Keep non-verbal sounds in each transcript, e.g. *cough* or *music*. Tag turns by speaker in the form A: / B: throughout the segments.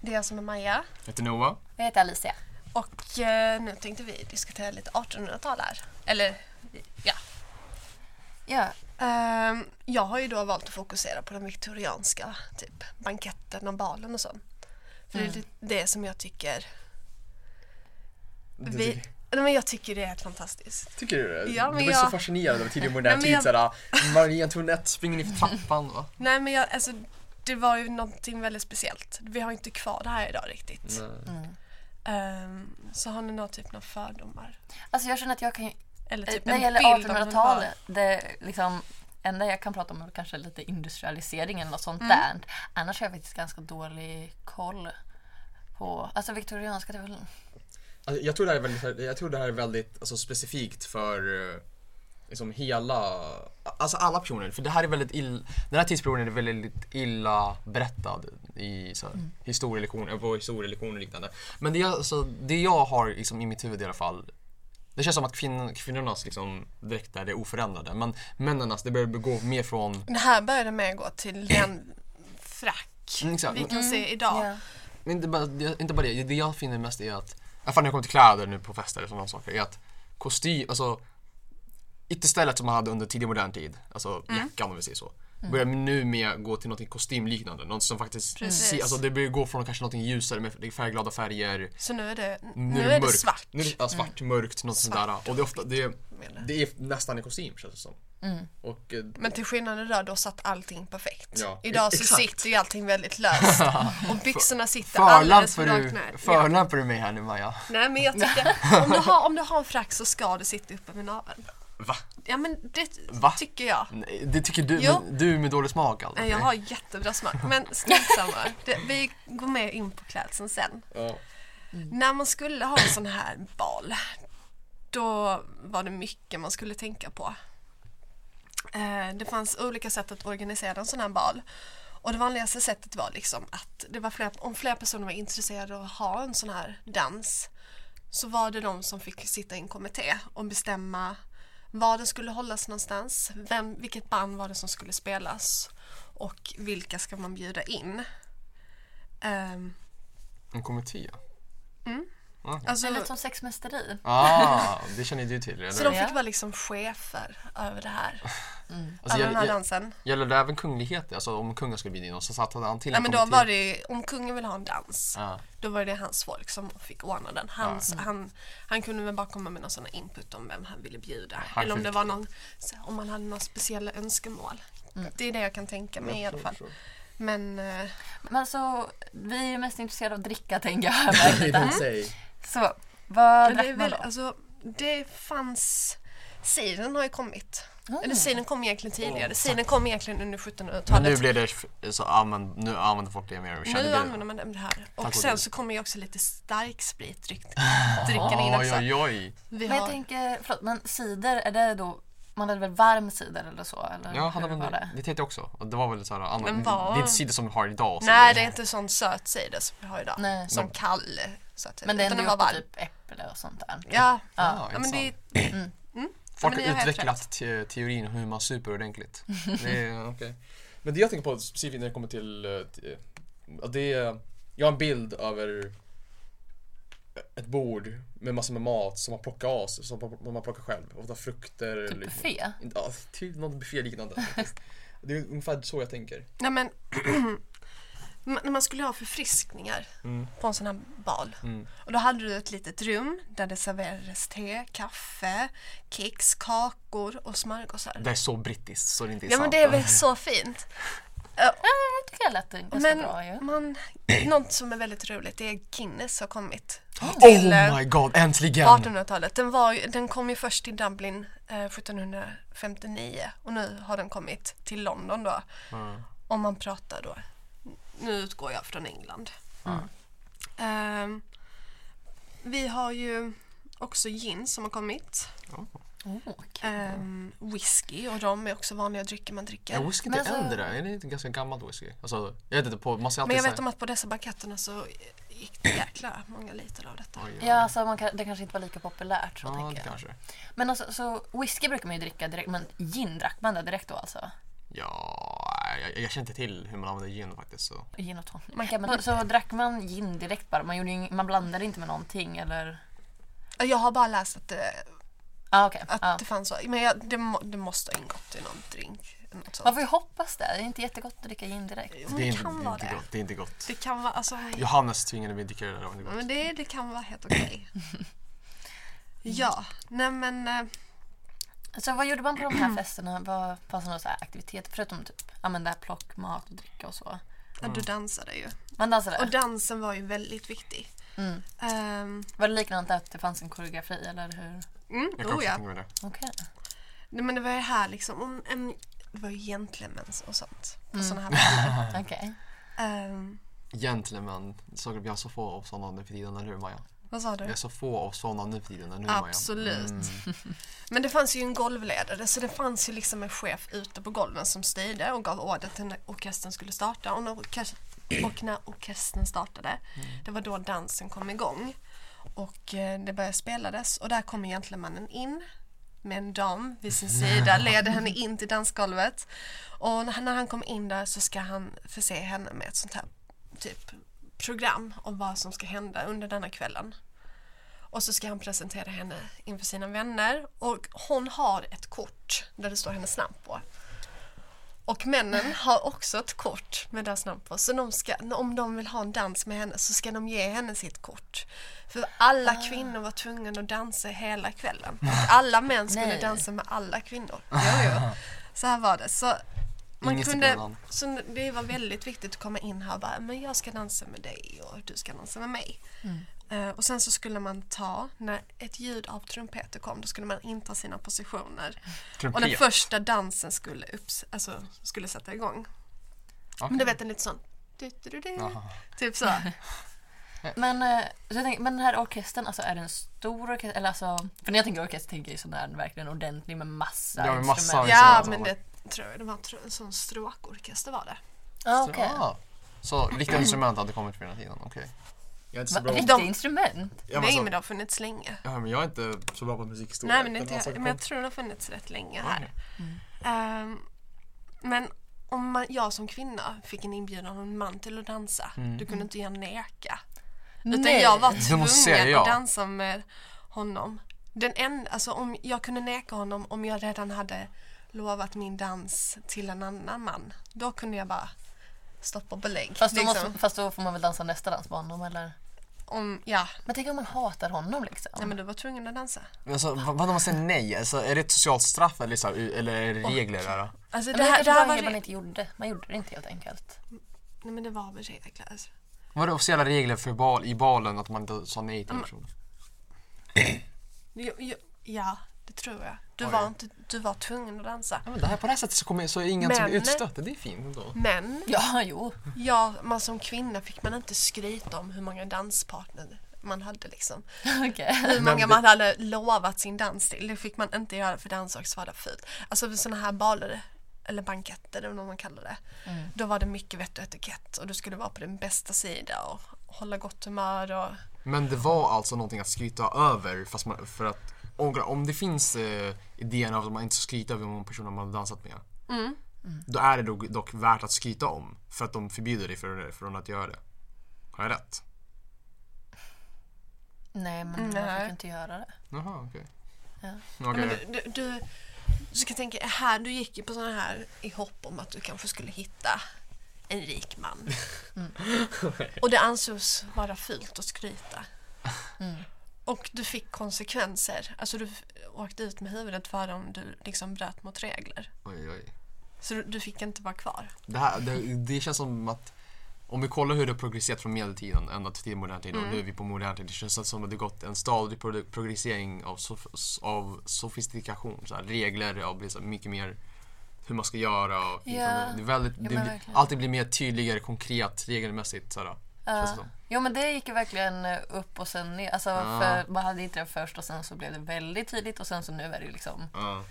A: jag som är Maja.
B: Jag heter Noah.
C: Jag heter Alicia.
A: Och eh, nu tänkte vi diskutera lite 1800-tal här. Eller, ja.
C: Ja,
A: Ehm, jag har ju då valt att fokusera på den viktorianska typ banketten och balen och så. För
C: Mm.
A: det är lite det som jag tycker... Vi, nej, men jag tycker det är helt fantastiskt.
B: Tycker du det?
A: Ja, men
B: du var ju så
A: jag-
B: fascinerad av tidig
A: Nej,
B: modern
A: men
B: tid.
A: jag-
B: såhär, Marie Antoinette springer ner
A: *laughs*
B: för trappan. Va?
A: Nej men jag, alltså, det var ju någonting väldigt speciellt. Vi har inte kvar det här idag riktigt.
B: Mm.
A: Ehm, så har ni någon typ några fördomar?
C: alltså jag känner att jag kan ju,
A: Eller
C: typ
A: typ
C: när det
A: en
C: gäller
A: bild av hur man
C: 1800-talet, det liksom enda jag kan prata om är kanske lite industrialisering eller något sånt
A: Mm.
C: där. Annars har jag faktiskt ganska dålig koll på, alltså viktorianska det är väl,
B: Alltså, jag, tror det här är väldigt, jag tror det här är väldigt alltså, specifikt för eh, liksom hela, alltså alla personer. För det här är väldigt ill, den här tidsperioden är väldigt illa berättad i så här,
A: Mm.
B: historielektioner, på historielektioner och liknande. Men det, jag- alltså, det jag har liksom, i mitt huvud i alla fall, det känns som att kvinn, kvinnornas liksom, dräkter är oförändrade. Men männens, det börjar gå mer från...
A: Det här började med att gå till den frack
B: Mm, exakt.
A: vi kan se idag.
C: ja.
B: Men inte bara, det- inte bara det, det jag finner mest är att, i alla fall när jag kommer till kläder nu på fester och sådana saker, är att kostym, alltså inte stället som man hade under tidig modern tid, alltså
A: Mm.
B: jackan om vi säger så. Börjar nu med gå till något kostymliknande, något som faktiskt,
A: Precis.
B: se, alltså det börjar gå från kanske något ljusare med färgglada färger,
A: Så nu är det,
B: nu,
A: nu är det
B: mörkt.
A: svart. Mm.
B: Nu är det, ja, svart, mörkt, något sånt där. Och det är ofta, det, är-
A: menar jag. Mm.
B: det är nästan en kostym känns det som. Och eh,
A: Men till skillnad idag, då satt allting perfekt.
B: Ja, e-
A: idag så
B: exakt.
A: sitter ju allting väldigt
B: *laughs*
A: löst. Och byxorna sitter alldeles för
B: förlämpar
A: långt
B: du,
A: ner. Ja.
B: förlämpar du mig här nu Maja?
A: Nej men jag
B: *laughs*
A: tycker, om du, har, om du har en frack så ska det sitta uppe med naveln.
B: Va?
A: Ja men det
B: Va? Mm,
A: tycker jag.
B: Nej, Det tycker du,
A: Jo.
B: men du med dålig smak alltså.
A: Nej, Jag har jättebra smak,
B: *laughs*
A: men strunt samma. Det- Vi går mer in på klädseln sen.
B: Ja.
A: När man skulle ha en sån här bal då var det mycket man skulle tänka på. Eh, Det fanns olika sätt att organisera en sån här bal. Och det vanligaste sättet var liksom att det var fler, om flera personer var intresserade av att ha en sån här dans så var det de som fick sitta i en kommitté och bestämma var den skulle hållas någonstans, vem, vilket band var det som skulle spelas och vilka ska man bjuda in. Ehm,
B: En kommitté?
A: alltså-
C: Lite som sexmästeri.
B: Ah, det känner du till
A: Så
B: eller?
A: de
C: Ja.
A: fick vara liksom chefer över det här,
B: Alltså,
A: över den här
B: gäller,
A: dansen.
B: gäller det även kungligheter? Alltså om kungen skulle bli din så satte han till en
A: Nej men då
B: kommitté?
A: var det ju, om kungen ville ha en dans,
B: Ja.
A: då var det hans folk som fick ordna den. Hans, han, han kunde väl bara komma med någon sån här input om vem han ville bjuda.
B: Han
A: Eller om
B: fick-
A: det var någon, så- om han hade några speciella önskemål.
B: Mm.
A: Det är det jag kan tänka mig i alla fall. Men eh,
C: Men alltså, vi är ju mest intresserade av dricka
A: *laughs*
C: tänker jag.
A: Mm.
B: Nej, det säg.
C: Så,
A: men
C: vad
A: det, är
C: drack man
A: väl,
C: då?
A: alltså, det fanns Siren har ju kommit. Eller siren kom egentligen tidigare. Siren kom egentligen under
B: Men
A: 1700-talet.
B: nu blir det, f- så använd, nu använder folk det mer. Känner
A: Nu
B: det?
A: använder man den här.
B: Tack
A: Och
B: och
A: sen
B: lov.
A: så kommer ju också lite stark sprit *laughs* dryck- drycken in
B: Oj,
A: också.
B: oj, oj.
A: Vi
C: Men jag
A: har,
C: tänker, förlåt, men cider, är det då, man hade väl varm cider eller så? Eller
B: Ja, han
C: hur var
B: använde, det
C: det?
B: tänkte jag också. Och Det var väl såhär, annan,
A: Men vad-
B: det är inte cider som vi har idag. Så
A: nej, det är inte sån söt cider som vi har idag.
C: Nej.
A: Som kall söt cider.
C: Men det är
A: Mm. Utan
C: ändå
A: den var
C: gjort av
A: varm.
C: typ äpple och sånt där.
A: Ja.
B: Ah,
A: ja, men det är,
B: intressant.
A: ja,
B: Folk
A: men
B: har
A: ni har helt
B: utvecklat te- teorin hur man super
A: *laughs*
B: ordentligt. det är, okej. Men det jag tänker på specifikt när det kommer till, eh, t- eh, det är, jag har en bild över ett bord med massor med mat som man plockar av sig, som man- man plockar själv. Ofta frukter.
C: Typ
B: eller-
C: buffé.
B: Ja, typ något
A: *laughs*
B: buffé liknande. faktiskt. det är ungefär så jag tänker.
A: nej, men, *clears throat* Ma- när man skulle ha förfriskningar på en sån här bal. Och då hade du ett litet rum där det serverades te, kaffe, kex, kakor och smörgåsar.
B: Det är så brittiskt så det inte är
A: Ja men det är
B: *gasps*
A: väl så fint.
C: Ja, jag tycker det lät ganska
A: Men
C: bra ju.
A: man, *clears throat* något som är väldigt roligt det är Guinness har kommit till
B: Oh
A: eh,
B: my god, äntligen!
A: 1800-talet. Den, var, ju- den kom ju först till Dublin eh, 1759 och nu har den kommit till London då.
C: Mm.
A: Om man pratar då, nu utgår jag från England.
C: Mm.
A: Ehm, vi har ju också gin som har kommit.
C: Oh, okej.
A: Ehm, whisky och rom är också vanliga drycker man dricker.
B: Är whisky
C: Men
B: inte
C: alltså-
B: äldre? Är det inte ganska gammalt whisky? Alltså, jag vet inte, på, man ser alltid
A: Men jag
B: så
A: vet om att på dessa banketterna så gick det jäkla många liter av detta.
B: här- Oj,
C: Ja, alltså man kan, det kanske inte var lika populärt så
B: Ja, det
C: tänker jag.
B: kanske.
C: Men alltså, så whisky brukar man ju dricka direkt, men gin drack man det direkt då alltså?
B: Ja, här. Jag, jag känner inte till hur man använder gin faktiskt. Så.
C: Gin och tonic. Man kan, så, så drack man gin direkt bara? Man, gjorde ju, ing- man blandade inte med någonting eller?
A: Jag har bara läst att det,
C: Ah, okay.
A: att
C: ah.
A: det fanns så. Men jag, det, må, det måste ha ingått i någon drink. Något
C: Man
A: sånt.
C: får ju hoppas det. Det är inte jättegott att dricka gin direkt.
A: Jo,
B: Det är,
A: men det
B: inte,
A: kan
B: det, är
A: vara
B: inte
A: det.
B: gott, det är inte gott.
A: Det kan vara, alltså,
B: Johannes tvingade mig att dricka det där. det var inte gott.
A: men det, det kan vara helt okej. Ja, nej men eh,
C: Så vad gjorde man på de *clears throat* här festerna? Vad fanns det några så här aktiviteter förutom typ ja, men det här plock, mat och dricka och så?
A: ja, du dansade ju.
C: Man dansade?
A: Och dansen var ju väldigt viktig.
C: Mm.
A: Ehm,
C: Var det liknande att det fanns en koreografi eller hur?
A: mm,
B: Jag kan
A: oh
B: också
A: ja.
B: tänka mig det.
C: Okej.
A: Nej, men det var ju här liksom, om, em, det var ju gentlemän och sånt. På såna här baller.
B: *laughs*
C: Okej.
A: Ehm,
B: Gentlemen, så vi har så få av sådana nu för tiden, eller hur Maja?
A: vad sa
B: Vi
A: du?
B: har så få av sådana nu för tiden, eller hur Maja?
A: Absolut.
B: Mm.
A: *laughs* Men det fanns ju en golvledare så det fanns ju liksom en chef ute på golven som styrde och gav order till när orkestern skulle starta. Och när,
B: *clears throat*
A: orkes- och när orkestern startade,
B: Mm.
A: det var då dansen kom igång. Och eh, det började spelades och där kom gentlemannen in med en dam vid sin
B: *laughs*
A: sida, leder henne in till dansgolvet. Och när han- när han kom in där så ska han förse henne med ett sånt här typ program om vad som ska hända under denna kvällen. Och så ska han presentera henne inför sina vänner och hon har ett kort där det står hennes namn på. Och männen har också ett kort med deras namn på. Så de ska, om de vill ha en dans med henne så ska de ge henne sitt kort. För alla kvinnor var tvungna att dansa hela kvällen. Alla män skulle
C: Nej.
A: dansa med alla kvinnor. Jo, jo. Så här var det. Så man
B: Ingen
A: kunde,
B: sekundan.
A: så det var väldigt viktigt att komma in här och bara, men jag ska dansa med dig och du ska dansa med mig. Eh, och sen så skulle man ta, när ett ljud av trumpeter kom, då skulle man inta sina positioner. Och den
B: Trumpet.
A: första dansen skulle, upps, alltså, skulle sätta igång.
B: Okej.
A: Men du vet en lite sån, du, du, du, du,
B: Jaha.
A: typ *laughs* så.
C: Men, eh, så jag tänker, men den här orkestern, alltså är det en stor orkester? Eller alltså, för när jag tänker orkester tänker jag ju sån där verkligen ordentlig med massa
B: Ja, med massa
C: instrument.
A: ja,
B: så-
A: men det tror jag, det var tr- en sån stråkorkester var det.
C: Ja, okej.
B: Ah, så
A: Mm.
B: riktiga instrument hade kommit för den här tiden, okej. Jag är inte
C: Va,
B: så bra
C: riktiga instrument?
B: Ja, men
A: Nej,
B: så-
A: men det har funnits länge.
B: Ja, men jag är inte så bra på musikhistoria.
A: Nej, men, inte,
B: alltså,
A: jag- men jag tror det har funnits rätt länge här.
B: Okej.
C: Mm.
A: Ehm, men om man, jag som kvinna fick en inbjudan av en man till att dansa, då kunde inte jag neka. Utan jag var
B: Du Mm. måste säga
A: tvungen
B: ja.
A: att dansa med honom. Den en, alltså om jag kunde neka honom om jag redan hade lovat min dans till en annan man. Då kunde jag bara stoppa och belägg.
C: Fast då,
A: liksom.
C: måste, fast då får man väl dansa nästa dans med honom eller?
A: om, ja,
C: Men tänk om man hatar honom liksom?
A: nej, men du var tvungen att dansa.
B: Men alltså, vad, vad om man säger nej? Alltså, är det ett socialt straff eller, så här, eller är det regler där? då?
A: Alltså,
C: Men
A: det, här, det, här var,
C: kanske man
A: re-
C: inte gjorde. Man gjorde det inte helt enkelt.
A: nej, men det var väl regler. Alltså.
B: Var det officiella regler för bal, i balen att man inte sa nej
A: Mm.
B: till en person?
A: Jo, jo, ja, det tror jag. Du
B: Oj.
A: var, inte, du var tvungen att dansa.
B: Ja, men det här, på det här sättet så, kommer, så är ingen som
A: Men-
B: blir utstött. Det är fint ändå.
A: Men
C: Ja, *laughs* jo.
A: Ja, man som kvinna fick man inte skryta om hur många danspartner man hade liksom.
C: Okej.
A: Hur
B: Men
A: många
B: det-
A: man hade lovat sin dans till. Det fick man inte göra för dansdags var det fult. Alltså vid sådana här baler eller banketter eller vad man kallar det.
B: Mm.
A: Då var det mycket vett och etikett och du skulle vara på din bästa sida och hålla gott humör och
B: Men det var alltså någonting att skryta över fast man, för att om, om det finns eh, idén av att man inte ska skryta över någon person man har dansat med.
A: Mm.
B: Då är det dock, dock värt att skryta om för att de förbjuder dig för, från att göra det. Har jag rätt?
C: Nej, men man
A: Nej.
C: fick inte göra det.
B: Jaha, okej.
C: Ja.
B: Okej.
A: Ja, men du, du, du, du ska tänka, här, du gick ju på sådana här i hopp om att du kanske skulle hitta en rik man. Och det ansågs vara fult att skryta. Och du fick konsekvenser. Alltså du f- åkte ut med huvudet för om du liksom bröt mot regler.
B: Oj, oj.
A: Så du, du fick inte vara kvar.
B: Det, här, det, det känns som att om vi kollar hur det har progresserat från medeltiden ända till modern tid
C: Mm.
B: och nu är vi på modern tid. Det känns som att det gått en stadig pro- progressering av, sof- av sofistikation. Så här, regler av liksom mycket mer hur man ska göra. Och
C: Ja.
B: det är väldigt,
C: men
B: det blir,
C: verkligen.
B: allt det blir mer tydligare, konkret, regelmässigt. Så här, känns det
C: Ja.
B: som.
C: Jo men det gick ju verkligen eh, upp och sen ner. Alltså,
B: Ja.
C: för man hade inte det först och sen så blev det väldigt tidigt och sen så nu är det ju liksom
B: Ja.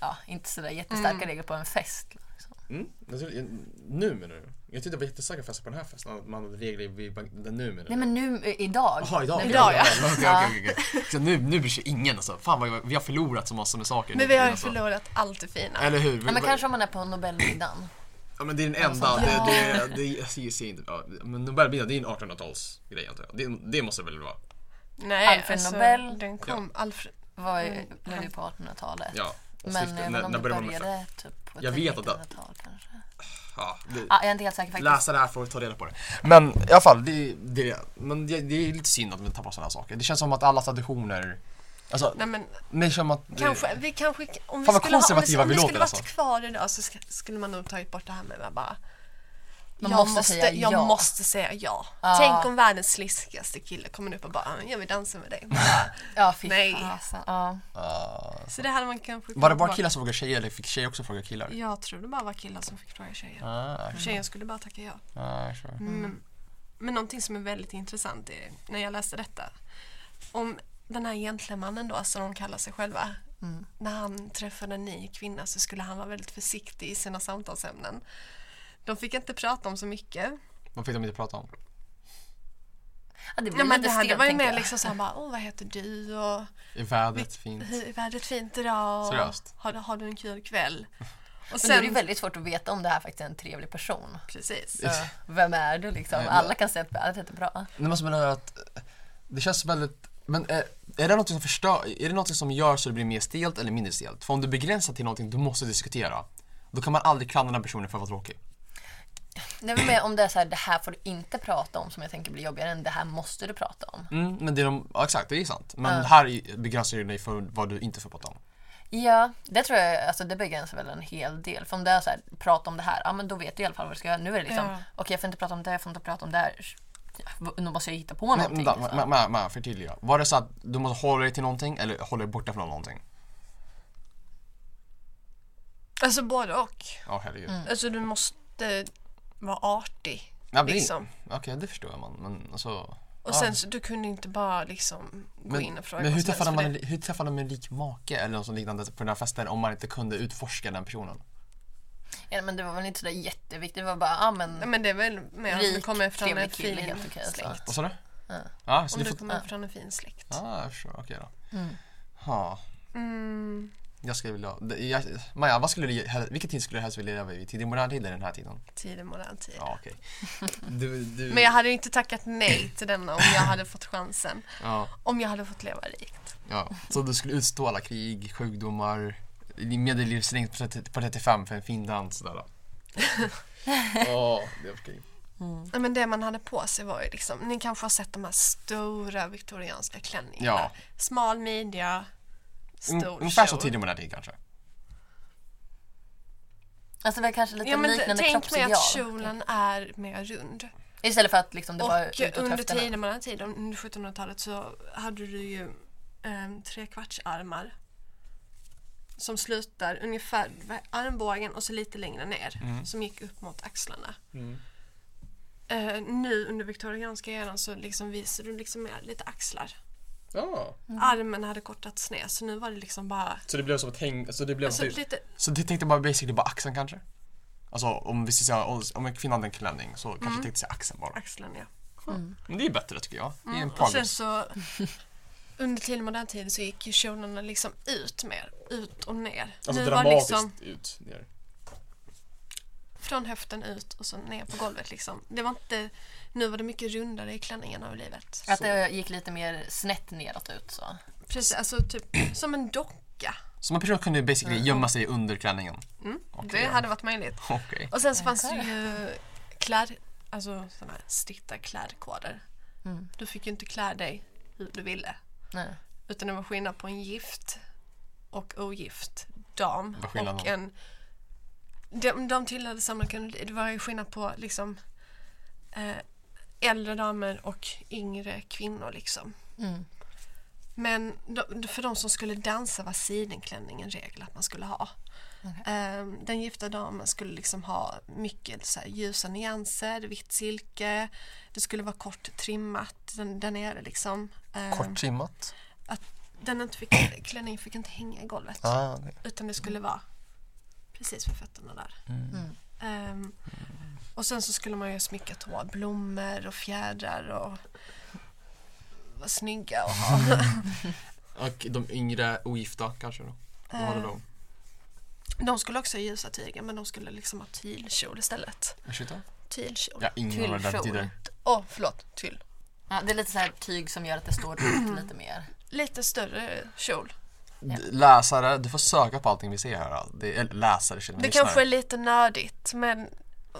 C: ja, inte sådär jättestarka
A: Mm.
C: regler på en fest. Liksom.
B: Mm, nu menar du? Jag tyckte det var jättestarka fester på den här festen, att man hade regler vid den nu menar du?
C: Nej men nu, eh, idag.
B: Jaha, idag?
C: Nej,
A: Idag, ja.
B: Okej, okej, okej, okej. Så nu, nu bryr sig ingen alltså. Fan vad vi har förlorat så massor med saker. nu
A: Men vi har
B: för
A: ju
B: tiden,
A: förlorat
B: alltså.
A: allt det fina.
B: *laughs* Eller hur?
C: Ja, men kanske om man är på Nobelmiddagen.
B: Ja men det är den enda, det, det, det, det jag ser inte, ja, men Nobelbina det är en 1800-talsgrej antar jag. Det, det måste väl vara,
A: Nej, alltså,
C: Alfred Nobel.
A: Den kom, Alfred,
C: Var ju,
A: Mm,
C: blev ju på 1800-talet.
B: ja.
C: Men
B: stift-
A: eh,
C: jag vet inte om det
B: började
C: började
B: man med-
C: typ på
B: Jag vet att det-
C: 1900-tal kanske.
B: ja, det,
C: Ah, jag är inte helt säker faktiskt.
B: Läsa det här för att ta reda på det. Men i alla fall, det, det, men det, det är lite synd att man tappar sådana här saker. Det känns som att alla traditioner, alltså,
A: nej men
B: det känns som att... det-
A: Kanske, vi kanske, om vi
B: Mm. Fan, vad
A: skulle, ha, om vi,
B: konservativa
A: om
B: vi
A: vi skulle
B: låter,
A: varit
B: alltså.
A: kvar idag så sk- skulle man nog tagit bort det här med att bara
C: Man
A: jag
C: måste
A: måste,
C: säga
A: jag
C: ja.
A: måste säga ja.
C: Ja.
A: Tänk om världens sliskigaste kille kommer upp och bara "Ah, jag vill dansa med dig.
B: *laughs*
A: Man Bara,
C: Ja, fy
A: Nej.
C: fasen. Ja.
B: Ah.
A: så det hade man kanske
B: var det
A: kunnat
B: bara killar som frågade tjejer eller fick tjejer också fråga killar?
A: Jag tror det bara var killar som fick fråga tjejer.
B: Ah,
A: Tjejer skulle bara tacka ja.
B: ah, sure.
A: Men, men någonting som är väldigt intressant är, när jag läste detta, om den här gentlemannen då, som de kallar sig själva,
C: Mm.
A: när han träffade en ny kvinna så skulle han vara väldigt försiktig i sina samtalsämnen. De fick inte prata om så mycket.
B: Vad fick de inte prata om?
C: Ja, det blir
A: Ja, men det,
C: lite
A: här, det
C: stelt
A: var ju
C: tänker
A: mer
C: jag.
A: liksom såhär bara, åh vad heter du och
B: Är vädret fint?
A: *laughs* hur är vädret fint idag? Och
B: Seriöst?
A: Har, du- har du en kul kväll?
C: *laughs*
A: Och
C: Men då är det
A: sen,
C: ju väldigt svårt att veta om det här faktiskt är en trevlig person.
A: precis.
C: Så, vem är du liksom?
B: Nej, men-
C: Alla kan säga att allt heter bra.
B: Nej men som menar att eh, det känns väldigt, men eh, är, är det något som förstör, är det något som gör så det blir mer stelt eller mindre stelt? För om du begränsar till någonting du måste diskutera, då kan man aldrig klandra den här personen för att vara tråkig.
C: Det är väl mer om det är så här, det här får du inte prata om som jag tänker blir jobbigare än det här måste du prata om.
B: Mm, men det är de, ja, exakt, det är sant. Men här är- begränsar du dig för vad du inte får prata om.
C: Ja, det tror jag alltså det begränsar väl en hel del. För om det är så här, prata om det här, ja men då vet du i alla fall vad du ska göra. Nu är det liksom,
A: Ja.
C: okej jag får inte prata om det här, jag får inte prata om det här. Ja, Nu måste jag hitta på någonting.
B: Vänta,
C: liksom.
B: ma- ma- ma- förtydliga. Var det så att du måste hålla dig till någonting eller hålla dig borta från någonting?
A: Alltså både och.
B: Ja, herregud.
C: Mm.
A: Alltså du måste vara artig.
B: Ja, det-
A: Liksom.
B: Okej, det förstår jag man. Men alltså...
A: Och sen så du kunde inte bara liksom gå
B: Men,
A: in och fråga
B: men hur
A: vad som helst
B: träffade,
A: för
B: man,
A: det-
B: en li- hur träffade man en rik make eller något sånt liknande på den här festen om man inte kunde utforska den personen?
C: Ja, men det var väl inte sådär jätteviktigt, det var bara, ja men
A: Nej men det är väl mer om du
C: Rik,
A: kommer från en
C: trevlig kille,
A: fin
C: helt okej,
A: släkt.
C: alltså.
B: Vad sa du?
C: Ja.
B: Ja, så
A: Om
B: du
A: du
B: får...
A: kommer från en fin släkt.
B: Ja, jag förstår. Okej då.
C: Mm.
B: Ja,
A: Mm,
B: jag skulle vilja... det- Jag, Maja, vad skulle du, hel- vilken tid skulle du helst vilja leva i? Tidig modern tid eller den här tiden?
A: tid är modern tid.
B: Ja,
A: *laughs*
B: okej. Du, du...
A: Men jag hade ju inte tackat nej till denna om jag hade fått chansen.
B: Ja,
A: Om jag hade fått leva rikt.
B: ja. Så du skulle utstå alla krig, sjukdomar, medellivslängd på 30 på 35 för en fin
A: *laughs*
B: dans sådär. Ja, det är okej. Mm.
A: Nej, Men det man hade på sig var ju liksom, ni kanske har sett de här stora viktorianska klänningarna.
B: Ja.
A: Smal midja,
B: Un-
A: stor
B: Mm, Ungefär så
A: kjol.
B: tidig modern tid kanske.
C: Alltså det är kanske lite
A: Ja, men
C: liknande
A: tänk mig
C: kroppsideal.
A: att kjolen är mer rund.
C: Istället för att liksom det var
A: Och
C: utåt
A: under
C: höfterna.
A: tiden, mellan tiden, under 1700-talet så hade du ju eh, trekvartsarmar som slutar ungefär vid armbågen och så lite längre ner
B: Mm.
A: som gick upp mot axlarna. Eh, nu under viktorianska eran så liksom visar du liksom mer lite axlar.
B: Ja.
A: Armen hade kortats ner så nu var det liksom bara
B: Så det blev som ett häng... Så det blev typ-
A: alltså, lite,
B: Så du tänkte bara basically bara axeln kanske? Alltså om vi ska säga, om en kvinna hade en klänning så kanske mm. tänkte säga axeln bara.
A: axlarna ja.
B: Men det är bättre tycker jag. Det är en
A: Och sen
B: progress.
A: så under till modern tid så gick ju kjolarna liksom ut mer, ut och ner.
B: Alltså
A: nu var det liksom
B: ut ner.
A: från höften ut och så ner på golvet liksom. Det var inte, nu var det mycket rundare i klänningarna och livet.
C: Att det gick lite mer snett neråt ut så.
A: Precis, alltså typ som en docka.
B: Så man person kunde basically gömma sig under klänningen? *laughs*
A: Mm.
B: Okej,
A: Det
B: ja.
A: hade varit möjligt.
B: Okej.
A: Och sen så fanns det ju kläd, alltså sådana här strikta klädkoder.
C: Mm.
A: Du fick ju inte klä dig hur du ville.
C: Nej.
A: Utan det var skillnad på en gift och ogift dam.
B: Vad skillnaden
A: Och
B: var?
A: en... De, de tillhörde samma kategori. Det var ju skillnad på liksom eh, äldre damer och yngre kvinnor liksom.
C: Mm.
A: Men de, för de som skulle dansa var sidenklänning en regel att man skulle ha. Ehm, den gifta damen skulle liksom ha mycket så här, ljusa nyanser, vitt silke. Det skulle vara kort trimmat den- där nere liksom. Ehm,
B: Kort trimmat.
A: att den inte fick, klänningen fick inte hänga i golvet.
B: Ah, det-
A: Utan det skulle vara precis vid fötterna där. Ehm, och sen så skulle man ju smycka tå, blommor och fjädrar och vara snygga och ha. Eh.
B: Och de yngre ogifta kanske då? Vad var det då?
A: *laughs* De skulle också ha ljusa tyger men de skulle liksom ha tylkjol istället.
B: Ursäkta?
A: Tylkjol.
B: Jag har ingen aning vad det där
C: Tyllkjol.
B: betyder.
A: Åh, förlåt. Tyll.
C: Ja, det är lite så här tyg som gör att det står ut lite mer.
A: Lite större kjol.
B: D- Läsare, du får söka på allting vi ser här. alltså. Det är, eller läsare känner
A: Det
B: lyssnare.
A: kanske är lite nördigt men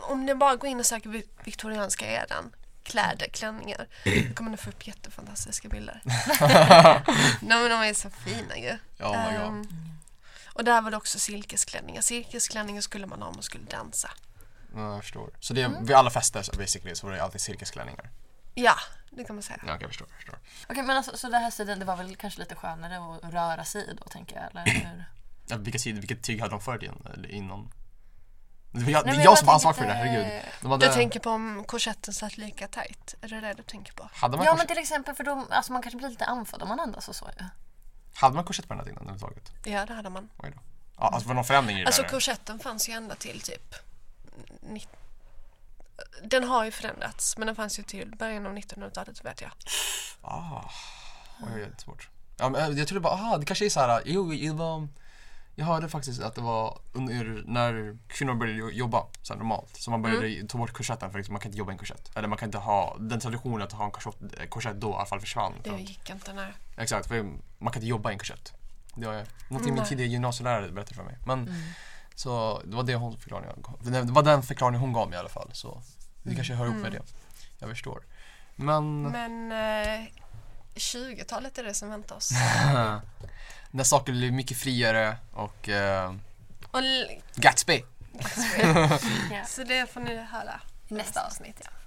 A: om ni bara går in och söker vi- viktorianska eran kläder, klänningar. Då kommer ni få upp jättefantastiska bilder.
B: *laughs*
A: Nej men de är så fina ju.
B: Ja, oh my god.
A: Ehm, och där var det också silkesklänningar. Silkesklänningar skulle man ha om man skulle dansa.
B: Ja, jag förstår. Så det är,
C: Mm.
B: vid alla fester så basically så var det alltid cirkusklänningar.
A: Ja, det kan man säga.
B: Ja, okej, jag förstår, jag förstår.
C: Okej, men alltså, så den här sidan, det var väl kanske lite skönare att röra sig i då, tänker jag, eller hur?
B: Ja, vilka sidor, vilket tyg hade de förr igen, eller innan? Det var jag, det
C: Nej,
B: är
C: men
B: jag som har ansvar
C: tänker
B: för det,
C: inte-
B: herregud. De hade,
A: Du tänker på om korsetten satt lika tajt? Är det det du tänker på?
B: hade, man
C: Ja, men
B: korsett,
C: till exempel för då, alltså man kanske blir lite andfådd om man andas och så ju.
B: hade man korsett på den här tiden överhuvudtaget?
A: Ja, det hade man.
B: Oj då. Ja, alltså var det någon förändring i det
A: Alltså
B: där?
A: korsetten fanns ju ända till typ... nitt- Den har ju förändrats, men den fanns ju till början av 1900-talet vet jag.
B: Ah, oj, oj, jättesvårt. Ja, men eh, jag trodde bara, aha, det kanske är så här, jo, det var, jag hörde faktiskt att det var under, när kvinnor började jo- jobba så här normalt, så man började
C: Mm.
B: ta bort korsetten för liksom, man kan inte jobba i en korsett. Eller man kan inte ha, den traditionen att ha en korsett, korsett då i alla fall försvann.
A: Det
B: från-
A: gick inte när...
B: Exakt, för man kan inte jobba i en korsett. Det var någonting min
A: Nej.
B: tidigare gymnasielärare berättade för mig. Men så det var det hon förklaringen gav. Det var den förklaringen hon gav mig i alla fall. Så det kanske hör ihop med det. Jag förstår. Men
A: Men eh, 20-talet är det som väntar
B: *laughs*
A: oss.
B: *laughs* när saker blir mycket friare och eh,
A: Och, l- *laughs*
B: Gatsby.
A: så det får ni höra i
C: Nästa
A: avsnitt. Ja.